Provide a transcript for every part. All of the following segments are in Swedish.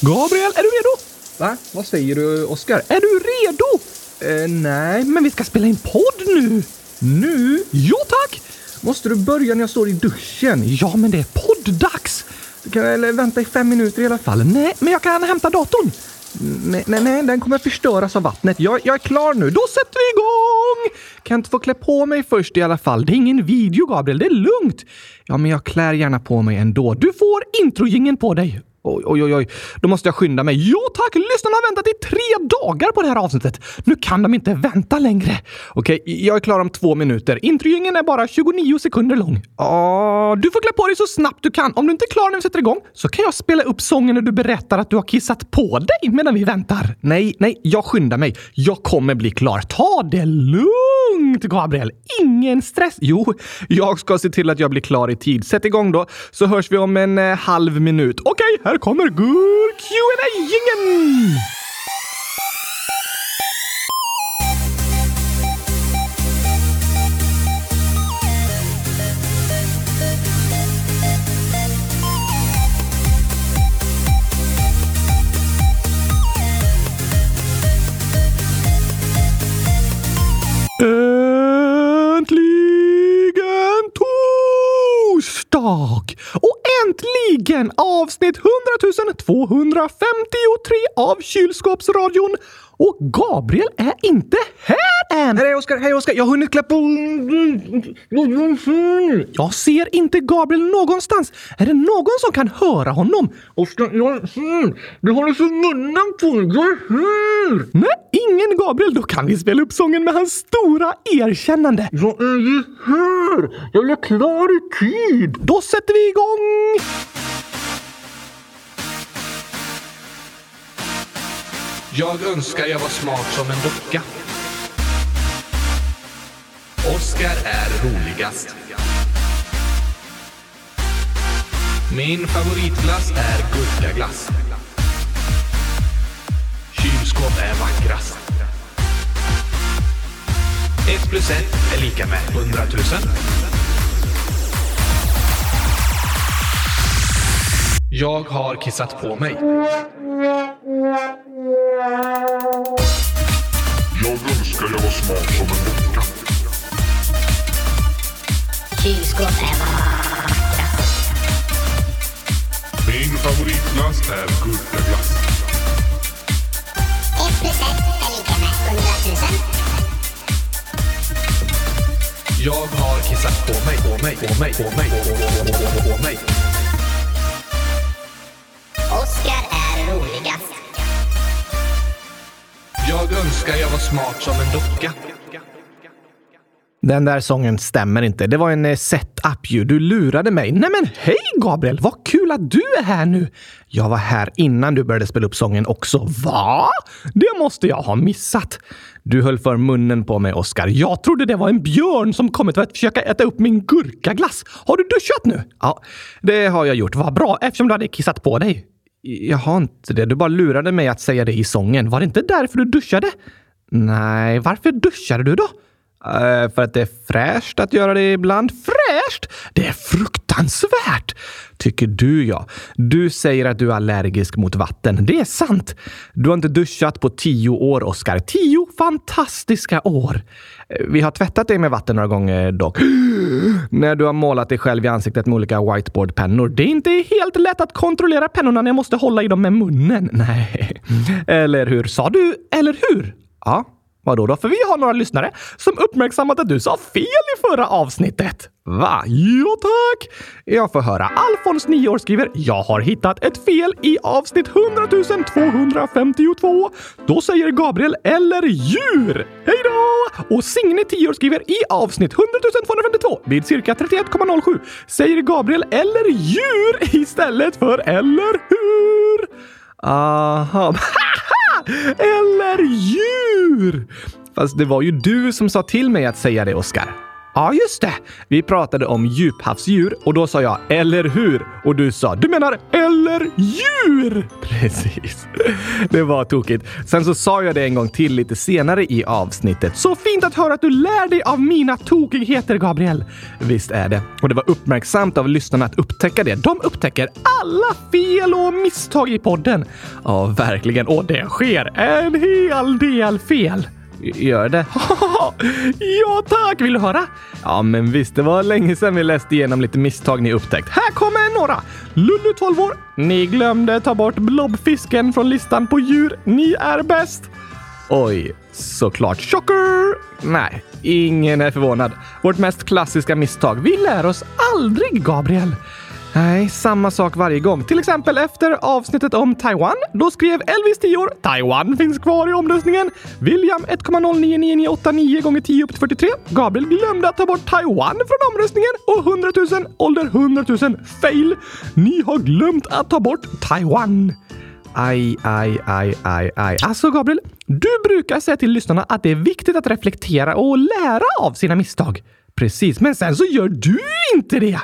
Gabriel, är du redo? Va? Vad säger du, Oskar? Är du redo? Eh, nej, Men vi ska spela in podd nu! nu Jo tack! måste du börja när jag står i duschen. Ja, men det är podd-dags! Du kan väl vänta i fem minuter i alla fall. Fall, nej, men jag kan hämta datorn. Nej, nej, nej, den kommer förstöras av vattnet. Jag, jag är klar nu. Då sätter vi igång! Kan inte få klä på mig först i alla fall. Det är ingen video, Gabriel. Det är lugnt. Ja, men jag klär gärna på mig ändå. Du får introjingeln på dig. Oj, oj, oj, oj. Då måste jag skynda mig. Jo tack! Lyssnarna har väntat i tre dagar på det här avsnittet. Nu kan de inte vänta längre. Okej, jag är klar om två minuter. Introjingeln är bara 29 sekunder lång. Ja, du får klä på dig så snabbt du kan. Om du inte är klar när vi sätter igång så kan jag spela upp sången när du berättar att du har kissat på dig medan vi väntar. Nej, nej, jag skyndar mig. Jag kommer bli klar. Ta det lugnt, Gabriel. Ingen stress. Jo, jag ska se till att jag blir klar i tid. Sätt igång då, så hörs vi om en eh, halv minut. Okej, här kommer gur qa gingen Äntligen torsdag! Och äntligen avsnitt 100 253 av Kylskåpsradion! Och Gabriel är inte här än! Hej Oskar, hej Oskar! Jag har hunnit klä på... Jag ser inte Gabriel någonstans. Är det någon som kan höra honom? Oskar, jag... Du håller för munnen på dig! Nej, ingen Gabriel. Då kan vi spela upp sången med hans stora erkännande. Jag är ju här! Jag är klar i tid! Då sätter vi igång! Jag önskar jag var smart som en docka. Oscar är roligast. Min favoritglass är gurkaglass. Kylskåp är vackrast. Ett plus ett är lika med 100 000. Jag har kissat på mig. Jag önskar jag var smart som en docka. Kylskåp är vackrast. Min favoritglass är gurkaglass. Ett plus ett är lika med hundratusen. Jag har kissat på mig, på mig, på mig, på mig, på mig, på mig, på mig. Oskar är roligast. Jag önskar jag var smart som en docka. Den där sången stämmer inte. Det var en eh, setup ju. Du lurade mig. Nej men hej Gabriel! Vad kul att du är här nu! Jag var här innan du började spela upp sången också. Va? Det måste jag ha missat. Du höll för munnen på mig, Oskar. Jag trodde det var en björn som kommit för att försöka äta upp min gurkaglass. Har du duschat nu? Ja, det har jag gjort. Vad bra, eftersom du hade kissat på dig. Jag har inte det. Du bara lurade mig att säga det i sången. Var det inte därför du duschade? Nej, varför duschade du då? Eh, För att det är fräscht att göra det ibland. Fräscht? Det är fruktansvärt! Tycker du ja. Du säger att du är allergisk mot vatten. Det är sant. Du har inte duschat på tio år, Oskar. Tio fantastiska år. Eh, Vi har tvättat dig med vatten några gånger dock. när du har målat dig själv i ansiktet med olika whiteboardpennor. Det är inte helt lätt att kontrollera pennorna när jag måste hålla i dem med munnen. Nej. Eller hur? Sa du eller hur? Ja, Vadå då? För vi har några lyssnare som uppmärksammat att du sa fel i förra avsnittet. Va? Jo tack! Jag får höra. Alfons, 9 år, skriver “Jag har hittat ett fel i avsnitt 100 252. Då säger Gabriel “Eller djur”. Hej då! Och Signe, 10 år, skriver “I avsnitt 100 252 vid cirka 31,07 säger Gabriel “Eller djur” istället för “Eller hur”. Aha. Eller djur! Fast det var ju du som sa till mig att säga det, Oskar. Ja, just det. Vi pratade om djuphavsdjur och då sa jag “eller hur” och du sa “du menar eller djur”. Precis. Det var tokigt. Sen så sa jag det en gång till lite senare i avsnittet. Så fint att höra att du lär dig av mina tokigheter, Gabriel. Visst är det. Och det var uppmärksamt av lyssnarna att upptäcka det. De upptäcker alla fel och misstag i podden. Ja, verkligen. Och det sker en hel del fel. Gör det? ja tack! Vill du höra? Ja men visst, det var länge sedan vi läste igenom lite misstag ni upptäckt. Här kommer några! Lullu 12 år. Ni glömde ta bort blobfisken från listan på djur. Ni är bäst! Oj, såklart. Chocker! Nej, ingen är förvånad. Vårt mest klassiska misstag. Vi lär oss aldrig, Gabriel. Nej, samma sak varje gång. Till exempel efter avsnittet om Taiwan. Då skrev Elvis 10 år “Taiwan finns kvar i omröstningen”. William 1,099989 gånger 10 upp till 43. Gabriel glömde att ta bort Taiwan från omröstningen. Och 100 000, ålder 100 000, fail! Ni har glömt att ta bort Taiwan. Aj, aj, aj, aj, aj. Alltså Gabriel, du brukar säga till lyssnarna att det är viktigt att reflektera och lära av sina misstag. Precis, men sen så gör du inte det.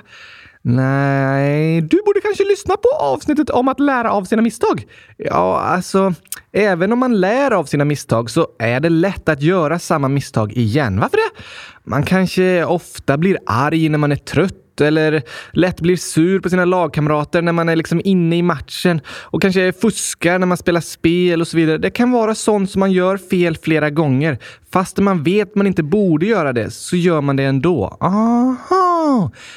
Nej, du borde kanske lyssna på avsnittet om att lära av sina misstag. Ja, alltså, även om man lär av sina misstag så är det lätt att göra samma misstag igen. Varför det? Man kanske ofta blir arg när man är trött eller lätt blir sur på sina lagkamrater när man är liksom inne i matchen och kanske fuskar när man spelar spel och så vidare. Det kan vara sånt som man gör fel flera gånger. Fast man vet man inte borde göra det så gör man det ändå. Aha!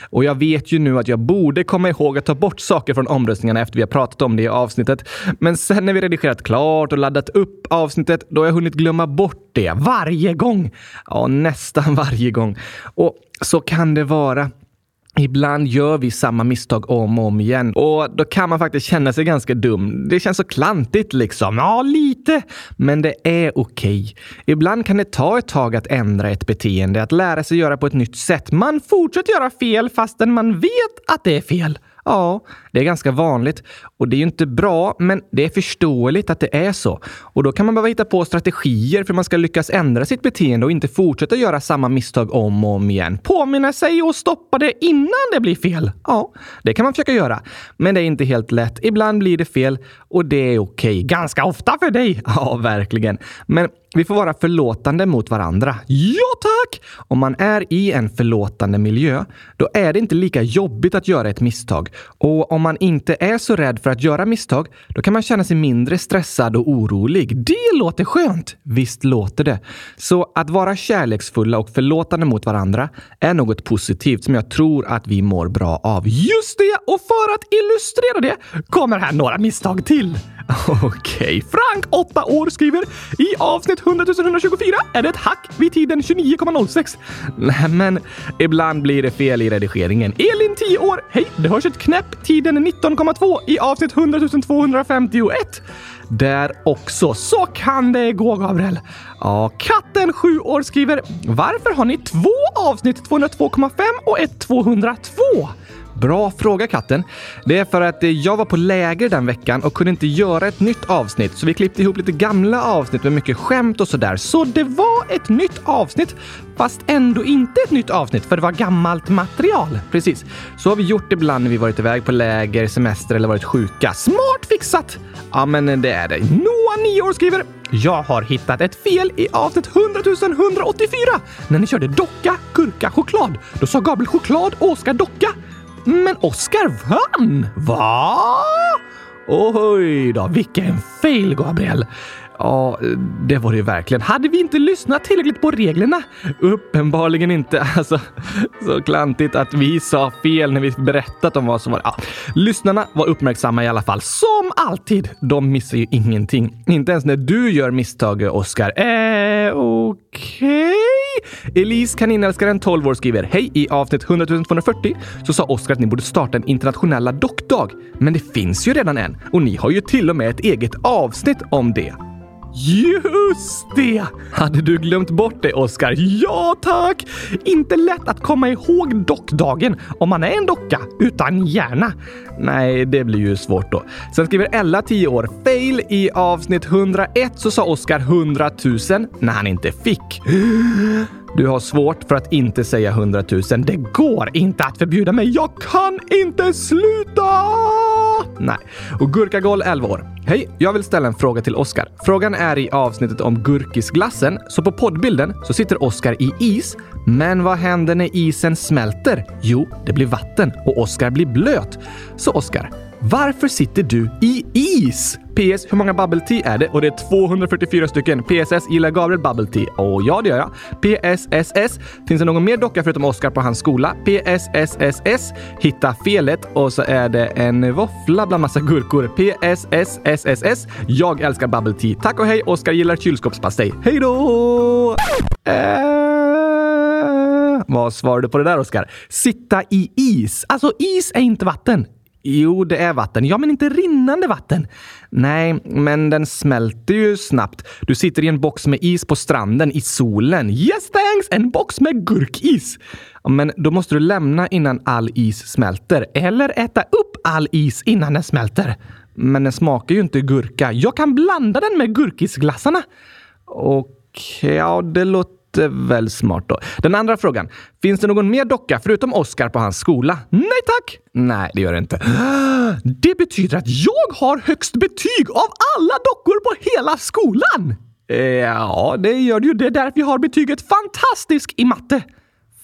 Och jag vet ju nu att jag borde komma ihåg att ta bort saker från omröstningarna efter vi har pratat om det i avsnittet. Men sen när vi redigerat klart och laddat upp avsnittet, då har jag hunnit glömma bort det varje gång. Ja, nästan varje gång. Och så kan det vara. Ibland gör vi samma misstag om och om igen och då kan man faktiskt känna sig ganska dum. Det känns så klantigt liksom. Ja, lite. Men det är okej. Ibland kan det ta ett tag att ändra ett beteende, att lära sig göra på ett nytt sätt. Man fortsätter göra fel fastän man vet att det är fel. Ja, det är ganska vanligt och det är ju inte bra, men det är förståeligt att det är så. Och då kan man behöva hitta på strategier för hur man ska lyckas ändra sitt beteende och inte fortsätta göra samma misstag om och om igen. Påminna sig och stoppa det innan det blir fel. Ja, det kan man försöka göra, men det är inte helt lätt. Ibland blir det fel och det är okej. Ganska ofta för dig. Ja, verkligen. Men vi får vara förlåtande mot varandra. Ja, tack! Om man är i en förlåtande miljö, då är det inte lika jobbigt att göra ett misstag. Och om man inte är så rädd för att göra misstag, då kan man känna sig mindre stressad och orolig. Det låter skönt! Visst låter det. Så att vara kärleksfulla och förlåtande mot varandra är något positivt som jag tror att vi mår bra av. Just det! Och för att illustrera det kommer här några misstag till. Okej. Frank, 8 år, skriver i avsnitt 100 124 är det ett hack vid tiden 29,06. Nej, men ibland blir det fel i redigeringen. Elin, 10 år. Hej, det hörs ett knäpp tiden 19,2 i avsnitt 100 251. Där också. Så kan det gå, Gabriel. Ja, katten 7 år skriver “Varför har ni två avsnitt 202,5 och ett 202?” Bra fråga katten. Det är för att eh, jag var på läger den veckan och kunde inte göra ett nytt avsnitt så vi klippte ihop lite gamla avsnitt med mycket skämt och sådär. Så det var ett nytt avsnitt fast ändå inte ett nytt avsnitt för det var gammalt material. Precis. Så har vi gjort ibland när vi varit iväg på läger, semester eller varit sjuka. Smart fixat! Ja, men eh, det är det. Noah, 9 år, skriver jag har hittat ett fel i avsnitt 100 184 när ni körde docka, gurka, choklad. Då sa Gabriel choklad och Oskar docka. Men Oscar vann! Va? Oj då, vilken fail, Gabriel! Ja, det var det ju verkligen. Hade vi inte lyssnat tillräckligt på reglerna? Uppenbarligen inte. Alltså, så klantigt att vi sa fel när vi berättat om vad som var... Ja. Lyssnarna var uppmärksamma i alla fall. Som alltid! De missar ju ingenting. Inte ens när du gör misstag, Oscar. Eh, okej? Elise kaninälskaren 12 år skriver “Hej! I avsnitt 100 240 så sa Oskar att ni borde starta en internationella dockdag. Men det finns ju redan en och ni har ju till och med ett eget avsnitt om det. Just det! Hade du glömt bort det, Oskar? Ja, tack! Inte lätt att komma ihåg dockdagen om man är en docka utan hjärna. Nej, det blir ju svårt då. Sen skriver Ella, 10 år, fail i avsnitt 101 så sa Oskar 100 000 när han inte fick. Du har svårt för att inte säga 100 000. Det går inte att förbjuda mig. Jag kan inte sluta! Nej. Och Gurkagol 11 år. Hej, jag vill ställa en fråga till Oskar. Frågan är i avsnittet om gurkisglassen, så på poddbilden så sitter Oskar i is. Men vad händer när isen smälter? Jo, det blir vatten och Oskar blir blöt. Så Oskar, varför sitter du i is? PS. Hur många bubble tea är det? Och det är 244 stycken. PSS. Gillar Gabriel bubble tea? Och ja, det gör jag. PSSS. Finns det någon mer docka förutom Oscar på hans skola? PSSSS. Hitta felet. Och så är det en våffla bland massa gurkor. PSSSSS. Jag älskar bubble tea. Tack och hej. Oscar gillar kylskåpspastej. Hej då! Eh, vad svarar du på det där, Oscar? Sitta i is. Alltså, is är inte vatten. Jo, det är vatten. Ja, men inte rinnande vatten. Nej, men den smälter ju snabbt. Du sitter i en box med is på stranden i solen. Yes thanks! En box med gurkis! Ja, Men då måste du lämna innan all is smälter. Eller äta upp all is innan den smälter. Men den smakar ju inte gurka. Jag kan blanda den med gurkisglassarna. Okej, ja, det låter väl smart då. Den andra frågan. Finns det någon mer docka förutom Oscar på hans skola? Nej tack! Nej, det gör det inte. Det betyder att jag har högst betyg av alla dockor på hela skolan! Eh, Ja, det gör du ju. Det är därför jag har betyget fantastisk i matte.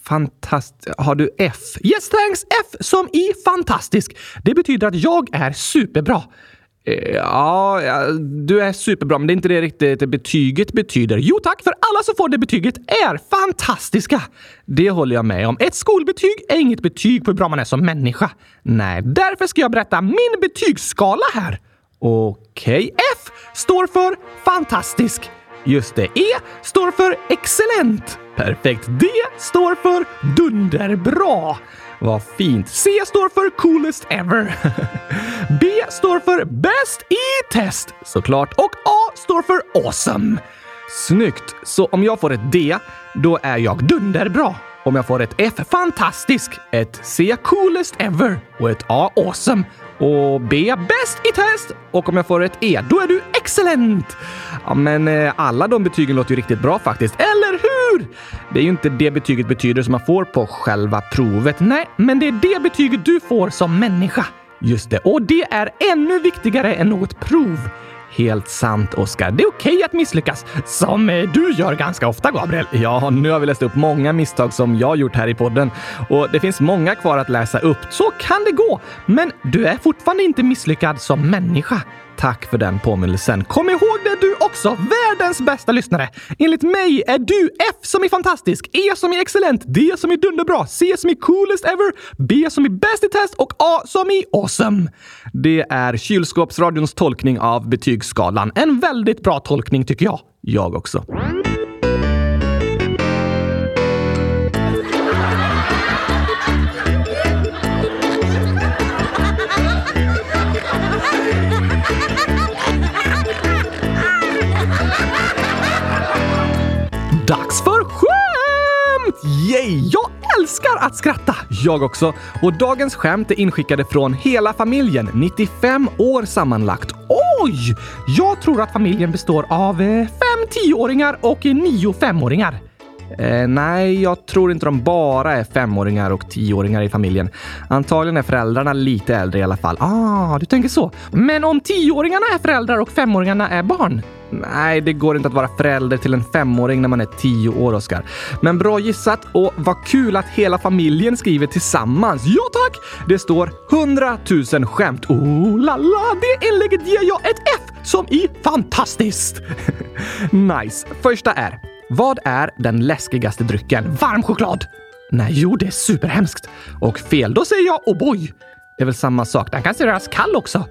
Fantast... Har du F? Yes thanks! F som i fantastisk. Det betyder att jag är superbra. Eh, Ja, ja, du är superbra, men det är inte det riktigt betyget betyder. Jo tack, för alla som får det betyget är fantastiska! Det håller jag med om. Ett skolbetyg är inget betyg på hur bra man är som människa. Nej, därför ska jag berätta min betygsskala här. Okej, F står för fantastisk. Just det, E står för excellent. Perfekt. D står för dunderbra. Vad fint. C står för coolest ever. B står för bäst i test, såklart. Och A står för awesome. Snyggt! Så om jag får ett D, då är jag dunderbra. Om jag får ett F, fantastisk. Ett C, coolest ever. Och ett A, awesome. Och B, bäst i test. Och om jag får ett E, då är du excellent. Ja, men eh, alla de betygen låter ju riktigt bra faktiskt, eller hur? Det är ju inte det betyget betyder som man får på själva provet. Nej, men det är det betyget du får som människa. Just det, och det är ännu viktigare än något prov. Helt sant, Oskar. Det är okej att misslyckas, som eh, du gör ganska ofta, Gabriel. Ja, nu har vi läst upp många misstag som jag gjort här i podden och det finns många kvar att läsa upp. Så kan det gå, men du är fortfarande inte misslyckad som människa. Tack för den påminnelsen. Kom ihåg det du också, världens bästa lyssnare. Enligt mig är du F som är fantastisk, E som är excellent, D som är dunderbra, C som är coolest ever, B som är bäst i test och A som är awesome. Det är kylskåpsradions tolkning av betygsskalan. En väldigt bra tolkning tycker jag. Jag också. Dags för skämt! Yay! Jag älskar att skratta! Jag också. Och dagens skämt är inskickade från hela familjen, 95 år sammanlagt. Oj! Jag tror att familjen består av eh, fem tioåringar och eh, nio femåringar. Eh, nej, jag tror inte de bara är femåringar och tioåringar i familjen. Antagligen är föräldrarna lite äldre i alla fall. Ah, du tänker så. Men om tioåringarna är föräldrar och femåringarna är barn? Nej, det går inte att vara förälder till en femåring när man är tio år, Oskar. Men bra gissat och vad kul att hela familjen skriver tillsammans. Ja tack! Det står 100 000 skämt. Oh la la, det inlägget ger jag ett F som i fantastiskt! nice. Första är vad är den läskigaste drycken? Varm choklad! Nej, jo, det är superhemskt. Och fel, då säger jag O'boy. Det är väl samma sak. Den kan serveras kall också.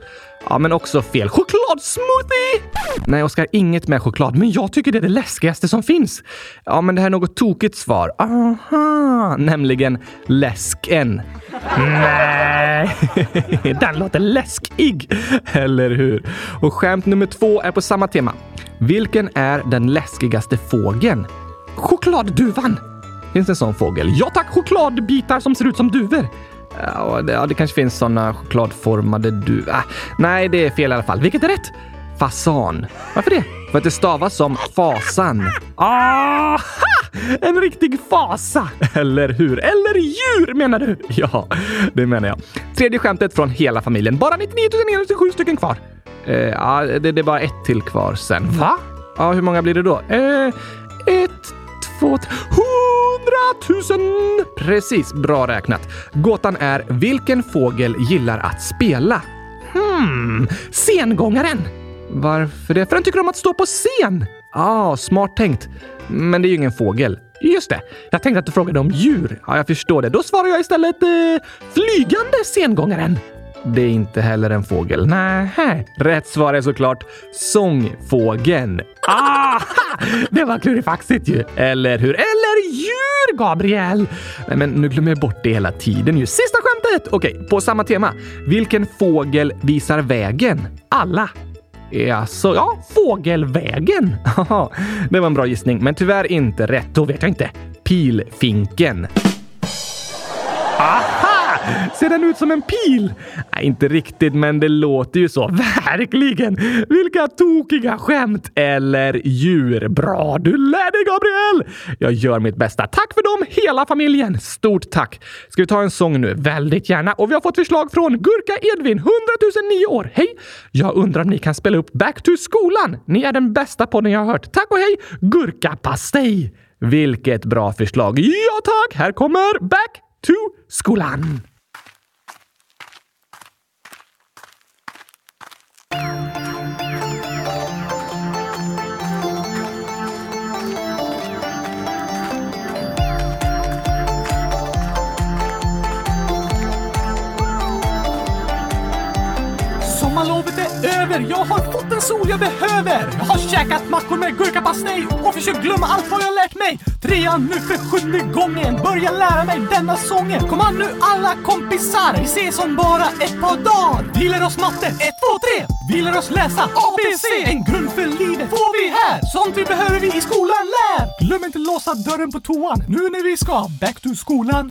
Ja, men också fel. Chokladsmoothie! Nej, Oskar, inget med choklad, men jag tycker det är det läskigaste som finns. Ja, men det här är något tokigt svar. Aha! Nämligen läsken. Nej, Eh, den låter läskig! Eller hur? Och skämt nummer två är på samma tema. Vilken är den läskigaste fågeln? Chokladduvan! Finns det en sån fågel? Ja tack, chokladbitar som ser ut som duvor. Ja, det, ja, det kanske finns såna chokladformade duvor. Ah, nej, det är fel i alla fall. Vilket är rätt? Fasan. Varför det? För att det stavas som fasan. Ah! ha! En riktig fasa! Eller hur? Eller djur menar du? Ja, det menar jag. Tredje skämtet från hela familjen. Bara 99 997 stycken kvar. Eh, ja, det, det är bara ett till kvar sen. Va? Ja, hur många blir det då? Eh, ett, två, tre... Hundratusen! Precis, bra räknat. Gåtan är vilken fågel gillar att spela? Hmm, sengångaren. Varför det? För den tycker om att stå på scen. Ah, smart tänkt. Men det är ju ingen fågel. Just det. Jag tänkte att du frågade om djur. Ja, jag förstår det. Då svarar jag istället eh, flygande sengångaren. Det är inte heller en fågel. Nähä. Rätt svar är såklart sångfågeln. Ah! Det var klurifaxigt ju. Eller hur? Eller djur, Gabriel! Nej, men nu glömmer jag bort det hela tiden ju. Sista skämtet! Okej, på samma tema. Vilken fågel visar vägen? Alla. Jaså, ja, fågelvägen. Haha, det var en bra gissning, men tyvärr inte rätt. Då vet jag inte. Pilfinken. Aha! Ser den ut som en pil? Nej, inte riktigt, men det låter ju så. Verkligen! Vilka tokiga skämt! Eller djur. Bra du lär dig, Gabriel! Jag gör mitt bästa. Tack för dem, hela familjen! Stort tack! Ska vi ta en sång nu? Väldigt gärna. Och vi har fått förslag från Gurka Edvin, 100 009 år. Hej! Jag undrar om ni kan spela upp Back to skolan? Ni är den bästa podden jag har hört. Tack och hej! Gurkapastej! Vilket bra förslag! Ja tack! Här kommer Back to skolan. Sommarlovet är över, jag har fått den sol jag behöver. Jag har käkat mackor med gurkapastej och försökt glömma allt vad jag lärt mig. Trean nu för sjunde gången, börja lära mig denna sången. Kom an nu alla kompisar, vi ses om bara ett par dagar. Vi lär oss matte, ett, två, tre. Vi lär oss läsa ABC. En grund för livet får vi här. Sånt vi behöver vi i skolan lär. Glöm inte låsa dörren på toan nu när vi ska back to skolan.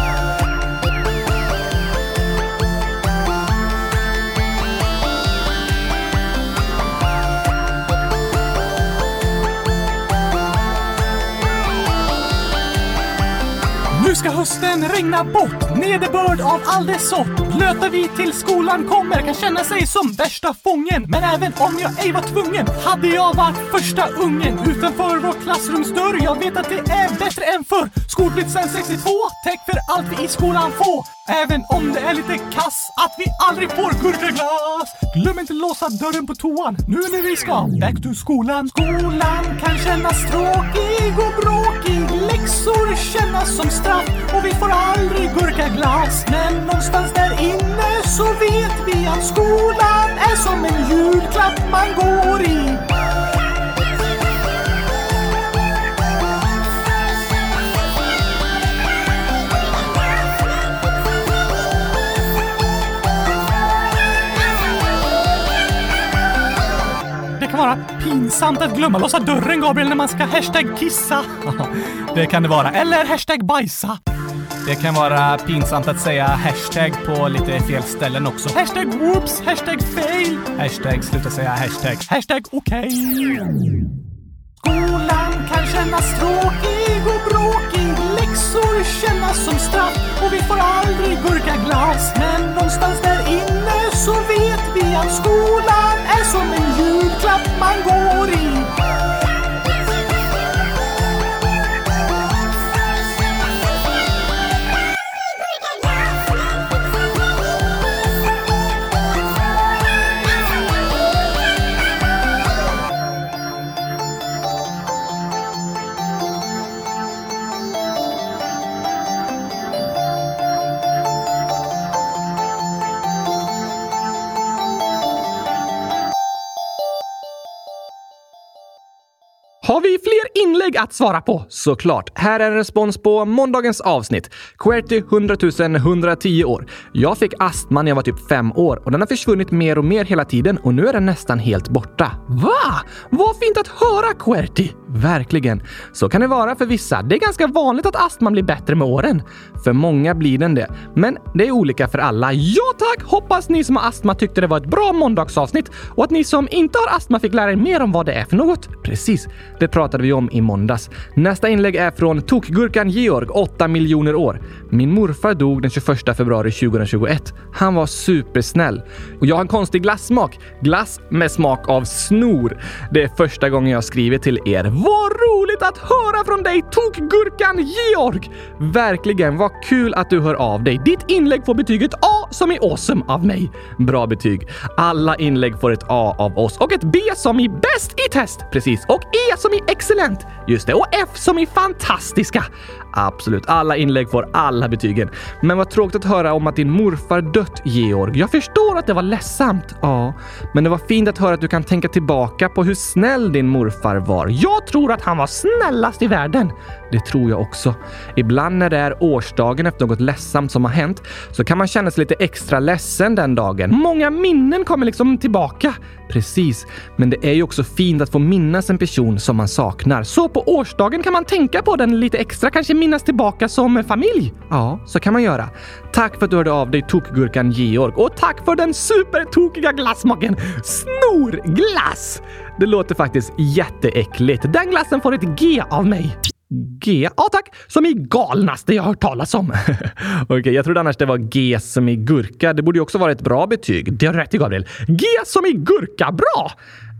Nu ska hösten regna bort, nederbörd av all dess sort. Blöta vi till skolan kommer, kan känna sig som värsta fången. Men även om jag ej var tvungen, hade jag varit första ungen utanför vår klassrumsdörr. Jag vet att det är bättre än förr. Skolplikt sen 62, täck för allt vi i skolan får. Även om det är lite kass att vi aldrig får gurkaglass. Glöm inte låsa dörren på toan nu när vi ska back to skolan. Skolan kan kännas tråkig och bråkig. Läxor kännas som straff och vi får aldrig gurkaglass. Men någonstans där inne så vet vi att skolan är som en julklapp man går i. Det kan vara pinsamt att glömma låsa dörren, Gabriel, när man ska hashtag kissa. Det kan det vara. Eller hashtag bajsa. Det kan vara pinsamt att säga hashtag på lite fel ställen också. Hashtag whoops, hashtag fail, hashtag sluta säga hashtag, hashtag okej. Skolan kan kännas tråkig och bråkig. Läxor kännas som straff och vi får aldrig gurkaglass. Men någonstans där inne så vet vi att skolan är som en julklapp man går i. Har vi fler inlägg att svara på? Såklart. Här är en respons på måndagens avsnitt. QWERTY 100 000 110 år. Jag fick astma när jag var typ fem år och den har försvunnit mer och mer hela tiden och nu är den nästan helt borta. Va? Vad fint att höra QWERTY! Verkligen. Så kan det vara för vissa. Det är ganska vanligt att astman blir bättre med åren. För många blir den det. Men det är olika för alla. Ja tack! Hoppas ni som har astma tyckte det var ett bra måndagsavsnitt och att ni som inte har astma fick lära er mer om vad det är för något. Precis, det pratade vi om i måndags. Nästa inlägg är från Tokgurkan Georg, 8 miljoner år. Min morfar dog den 21 februari 2021. Han var supersnäll. Och jag har en konstig glassmak. Glass med smak av snor. Det är första gången jag skriver till er. Vad roligt att höra från dig Tokgurkan Georg! Verkligen, vad kul att du hör av dig. Ditt inlägg får betyget A som i awesome av mig. Bra betyg. Alla inlägg får ett A av oss och ett B som i bäst i test. Precis. Och E som i excellent. Just det. Och F som i fantastiska. Absolut. Alla inlägg får alla betygen. Men vad tråkigt att höra om att din morfar dött, Georg. Jag förstår att det var ledsamt. Ja, men det var fint att höra att du kan tänka tillbaka på hur snäll din morfar var. Jag tror att han var snällast i världen. Det tror jag också. Ibland när det är årsdagen efter något ledsamt som har hänt så kan man känna sig lite extra ledsen den dagen. Många minnen kommer liksom tillbaka. Precis, men det är ju också fint att få minnas en person som man saknar. Så på årsdagen kan man tänka på den lite extra, kanske minnas tillbaka som familj. Ja, så kan man göra. Tack för att du hörde av dig Tokgurkan Georg och tack för den supertokiga glassmaken Snorglass! Det låter faktiskt jätteäckligt. Den glassen får ett G av mig. G. Ja tack, som i galnaste jag hört talas om. Okej, jag trodde annars det var G som i gurka. Det borde ju också vara ett bra betyg. Det har du rätt i Gabriel. G som i gurka, bra!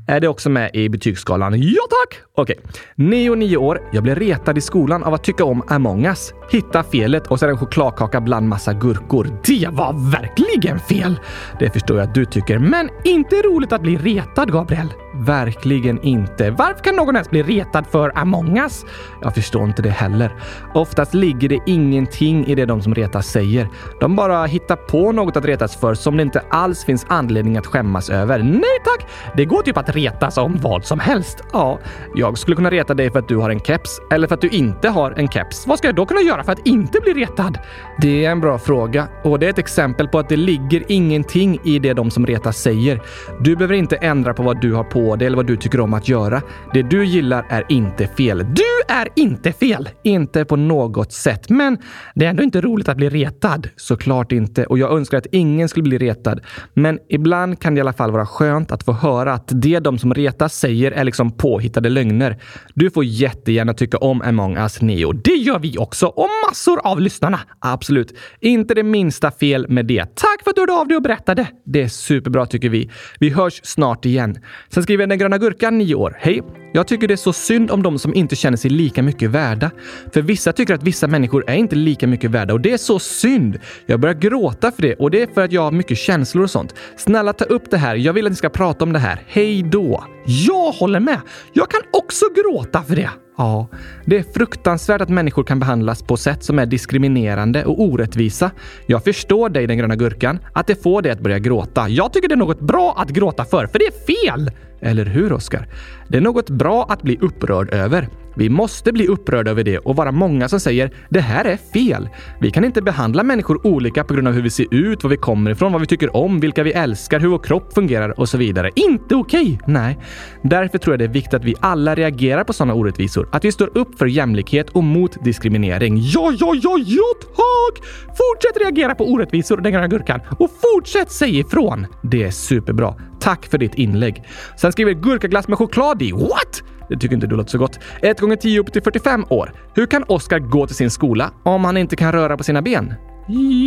Är det också med i betygsskalan? Ja tack! Okej. Nio och nio år. Jag blev retad i skolan av att tycka om Among us. Hitta felet och sedan en chokladkaka bland massa gurkor. Det var verkligen fel! Det förstår jag att du tycker, men inte roligt att bli retad, Gabriel. Verkligen inte. Varför kan någon ens bli retad för Among us? Jag förstår inte det heller. Oftast ligger det ingenting i det de som retas säger. De bara hittar på något att retas för som det inte alls finns anledning att skämmas över. Nej tack! Det går typ att retas om vad som helst. Ja, jag skulle kunna reta dig för att du har en keps eller för att du inte har en keps. Vad ska jag då kunna göra för att inte bli retad? Det är en bra fråga och det är ett exempel på att det ligger ingenting i det de som retas säger. Du behöver inte ändra på vad du har på dig eller vad du tycker om att göra. Det du gillar är inte fel. Du är inte fel! Inte på något sätt. Men det är ändå inte roligt att bli retad. Såklart inte. Och jag önskar att ingen skulle bli retad. Men ibland kan det i alla fall vara skönt att få höra att det de som retas säger är liksom påhittade lögner. Du får jättegärna tycka om Among Us Neo. Det gör vi också. Och massor av lyssnarna. Absolut. Inte det minsta fel med det. Tack för att du hörde av dig och berättade. Det är superbra tycker vi. Vi hörs snart igen. Sen skriver den gröna gurkan, 9 år. Hej! Jag tycker det är så synd om de som inte känner sig lika mycket värda. För vissa tycker att vissa människor är inte lika mycket värda och det är så synd. Jag börjar gråta för det och det är för att jag har mycket känslor och sånt. Snälla ta upp det här. Jag vill att ni ska prata om det här. Hej då! Jag håller med. Jag kan också gråta för det. Ja, det är fruktansvärt att människor kan behandlas på sätt som är diskriminerande och orättvisa. Jag förstår dig, den gröna gurkan, att det får dig att börja gråta. Jag tycker det är något bra att gråta för, för det är fel! Eller hur, Oskar? Det är något bra att bli upprörd över. Vi måste bli upprörda över det och vara många som säger “det här är fel”. Vi kan inte behandla människor olika på grund av hur vi ser ut, var vi kommer ifrån, vad vi tycker om, vilka vi älskar, hur vår kropp fungerar och så vidare. Inte okej! Nej. Därför tror jag det är viktigt att vi alla reagerar på sådana orättvisor. Att vi står upp för jämlikhet och mot diskriminering. Ja, ja, ja, ja, tack! Fortsätt reagera på orättvisor, den gröna gurkan. Och fortsätt säga ifrån! Det är superbra. Tack för ditt inlägg. Sen skriver gurkaglass med choklad i. What? Det tycker inte du låter så gott. 1 gånger 10 upp till 45 år. Hur kan Oscar gå till sin skola om han inte kan röra på sina ben?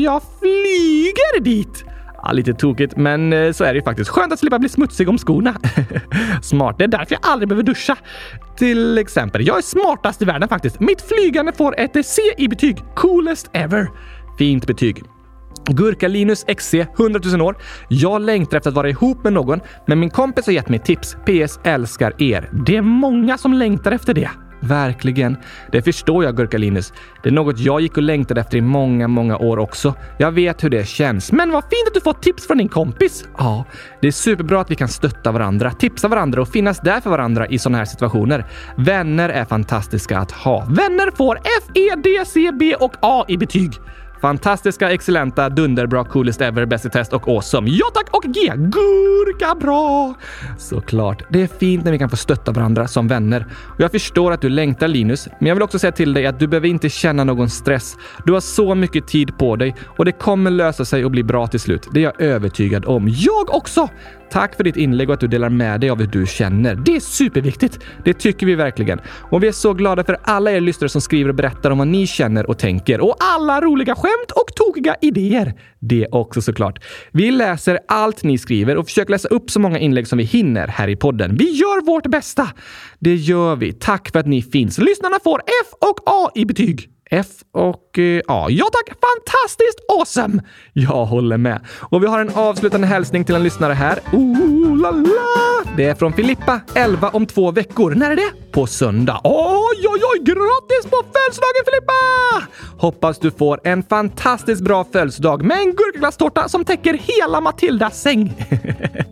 Jag flyger dit! Ja, lite tokigt, men eh, så är det ju faktiskt. Skönt att slippa bli smutsig om skorna. Smart. Det är därför jag aldrig behöver duscha. Till exempel, jag är smartast i världen faktiskt. Mitt flygande får ett eh, C i betyg. Coolest ever. Fint betyg. Gurka-Linus XC, 100 000 år. Jag längtar efter att vara ihop med någon, men min kompis har gett mig tips. PS. Älskar er. Det är många som längtar efter det. Verkligen. Det förstår jag, Gurka Linus. Det är något jag gick och längtade efter i många, många år också. Jag vet hur det känns. Men vad fint att du fått tips från din kompis! Ja, det är superbra att vi kan stötta varandra, tipsa varandra och finnas där för varandra i sådana här situationer. Vänner är fantastiska att ha. Vänner får F, E, D, C, B och A i betyg. Fantastiska, excellenta, dunderbra, coolest ever, bäst i test och awesome. Ja tack och G! Gurka bra! Såklart. Det är fint när vi kan få stötta varandra som vänner. Och jag förstår att du längtar Linus, men jag vill också säga till dig att du behöver inte känna någon stress. Du har så mycket tid på dig och det kommer lösa sig och bli bra till slut. Det är jag övertygad om. Jag också! Tack för ditt inlägg och att du delar med dig av hur du känner. Det är superviktigt. Det tycker vi verkligen. Och vi är så glada för alla er lyssnare som skriver och berättar om vad ni känner och tänker och alla roliga skämt och tokiga idéer. Det också såklart. Vi läser allt ni skriver och försöker läsa upp så många inlägg som vi hinner här i podden. Vi gör vårt bästa. Det gör vi. Tack för att ni finns. Lyssnarna får F och A i betyg. F och eh, A. Ja tack! Fantastiskt awesome! Jag håller med. Och vi har en avslutande hälsning till en lyssnare här. Ooh, la, la. Det är från Filippa, 11 om två veckor. När är det? På söndag. Oj, oj, oj! Grattis på födelsedagen Filippa! Hoppas du får en fantastiskt bra födelsedag med en gurkaglasstårta som täcker hela Matildas säng.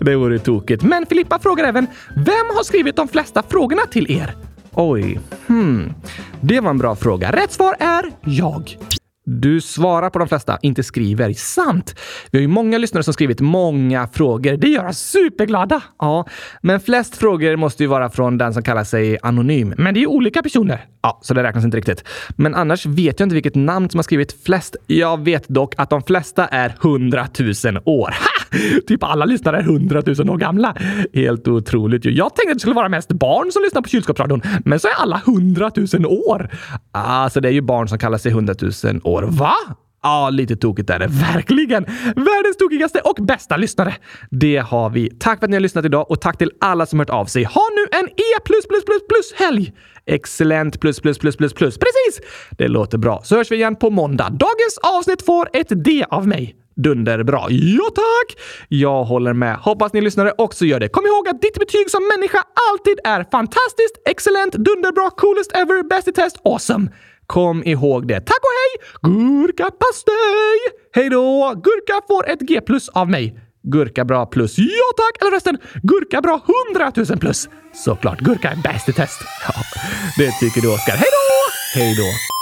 det vore tokigt. Men Filippa frågar även, vem har skrivit de flesta frågorna till er? Oj, hmm. Det var en bra fråga. Rätt svar är jag. Du svarar på de flesta, inte skriver. Sant! Vi har ju många lyssnare som skrivit många frågor. Det gör oss superglada! Ja, men flest frågor måste ju vara från den som kallar sig anonym. Men det är ju olika personer. Ja, så det räknas inte riktigt. Men annars vet jag inte vilket namn som har skrivit flest. Jag vet dock att de flesta är 100 000 år. Ha! Typ alla lyssnare är 100 000 år gamla. Helt otroligt ju. Jag tänkte att det skulle vara mest barn som lyssnar på kylskåpsradion, men så är alla 100 000 år. Alltså, det är ju barn som kallar sig 100 000 år. Va? Ja, lite tokigt är det. Verkligen! Världens tokigaste och bästa lyssnare. Det har vi. Tack för att ni har lyssnat idag och tack till alla som hört av sig. Ha nu en E plus plus plus plus helg! Excellent plus plus plus plus plus. Precis! Det låter bra. Så hörs vi igen på måndag. Dagens avsnitt får ett D av mig. Dunderbra. Ja, tack! Jag håller med. Hoppas ni lyssnare också gör det. Kom ihåg att ditt betyg som människa alltid är fantastiskt, excellent, dunderbra, coolest ever, bäst i test, awesome. Kom ihåg det. Tack och hej! Gurkapastej! Hej då! Gurka får ett G plus av mig. Gurka bra plus. Ja tack! Eller resten, gurka bra 100 000 plus. Såklart, gurka är bäst i test. Ja, det tycker du Oskar. Hej då! Hej då!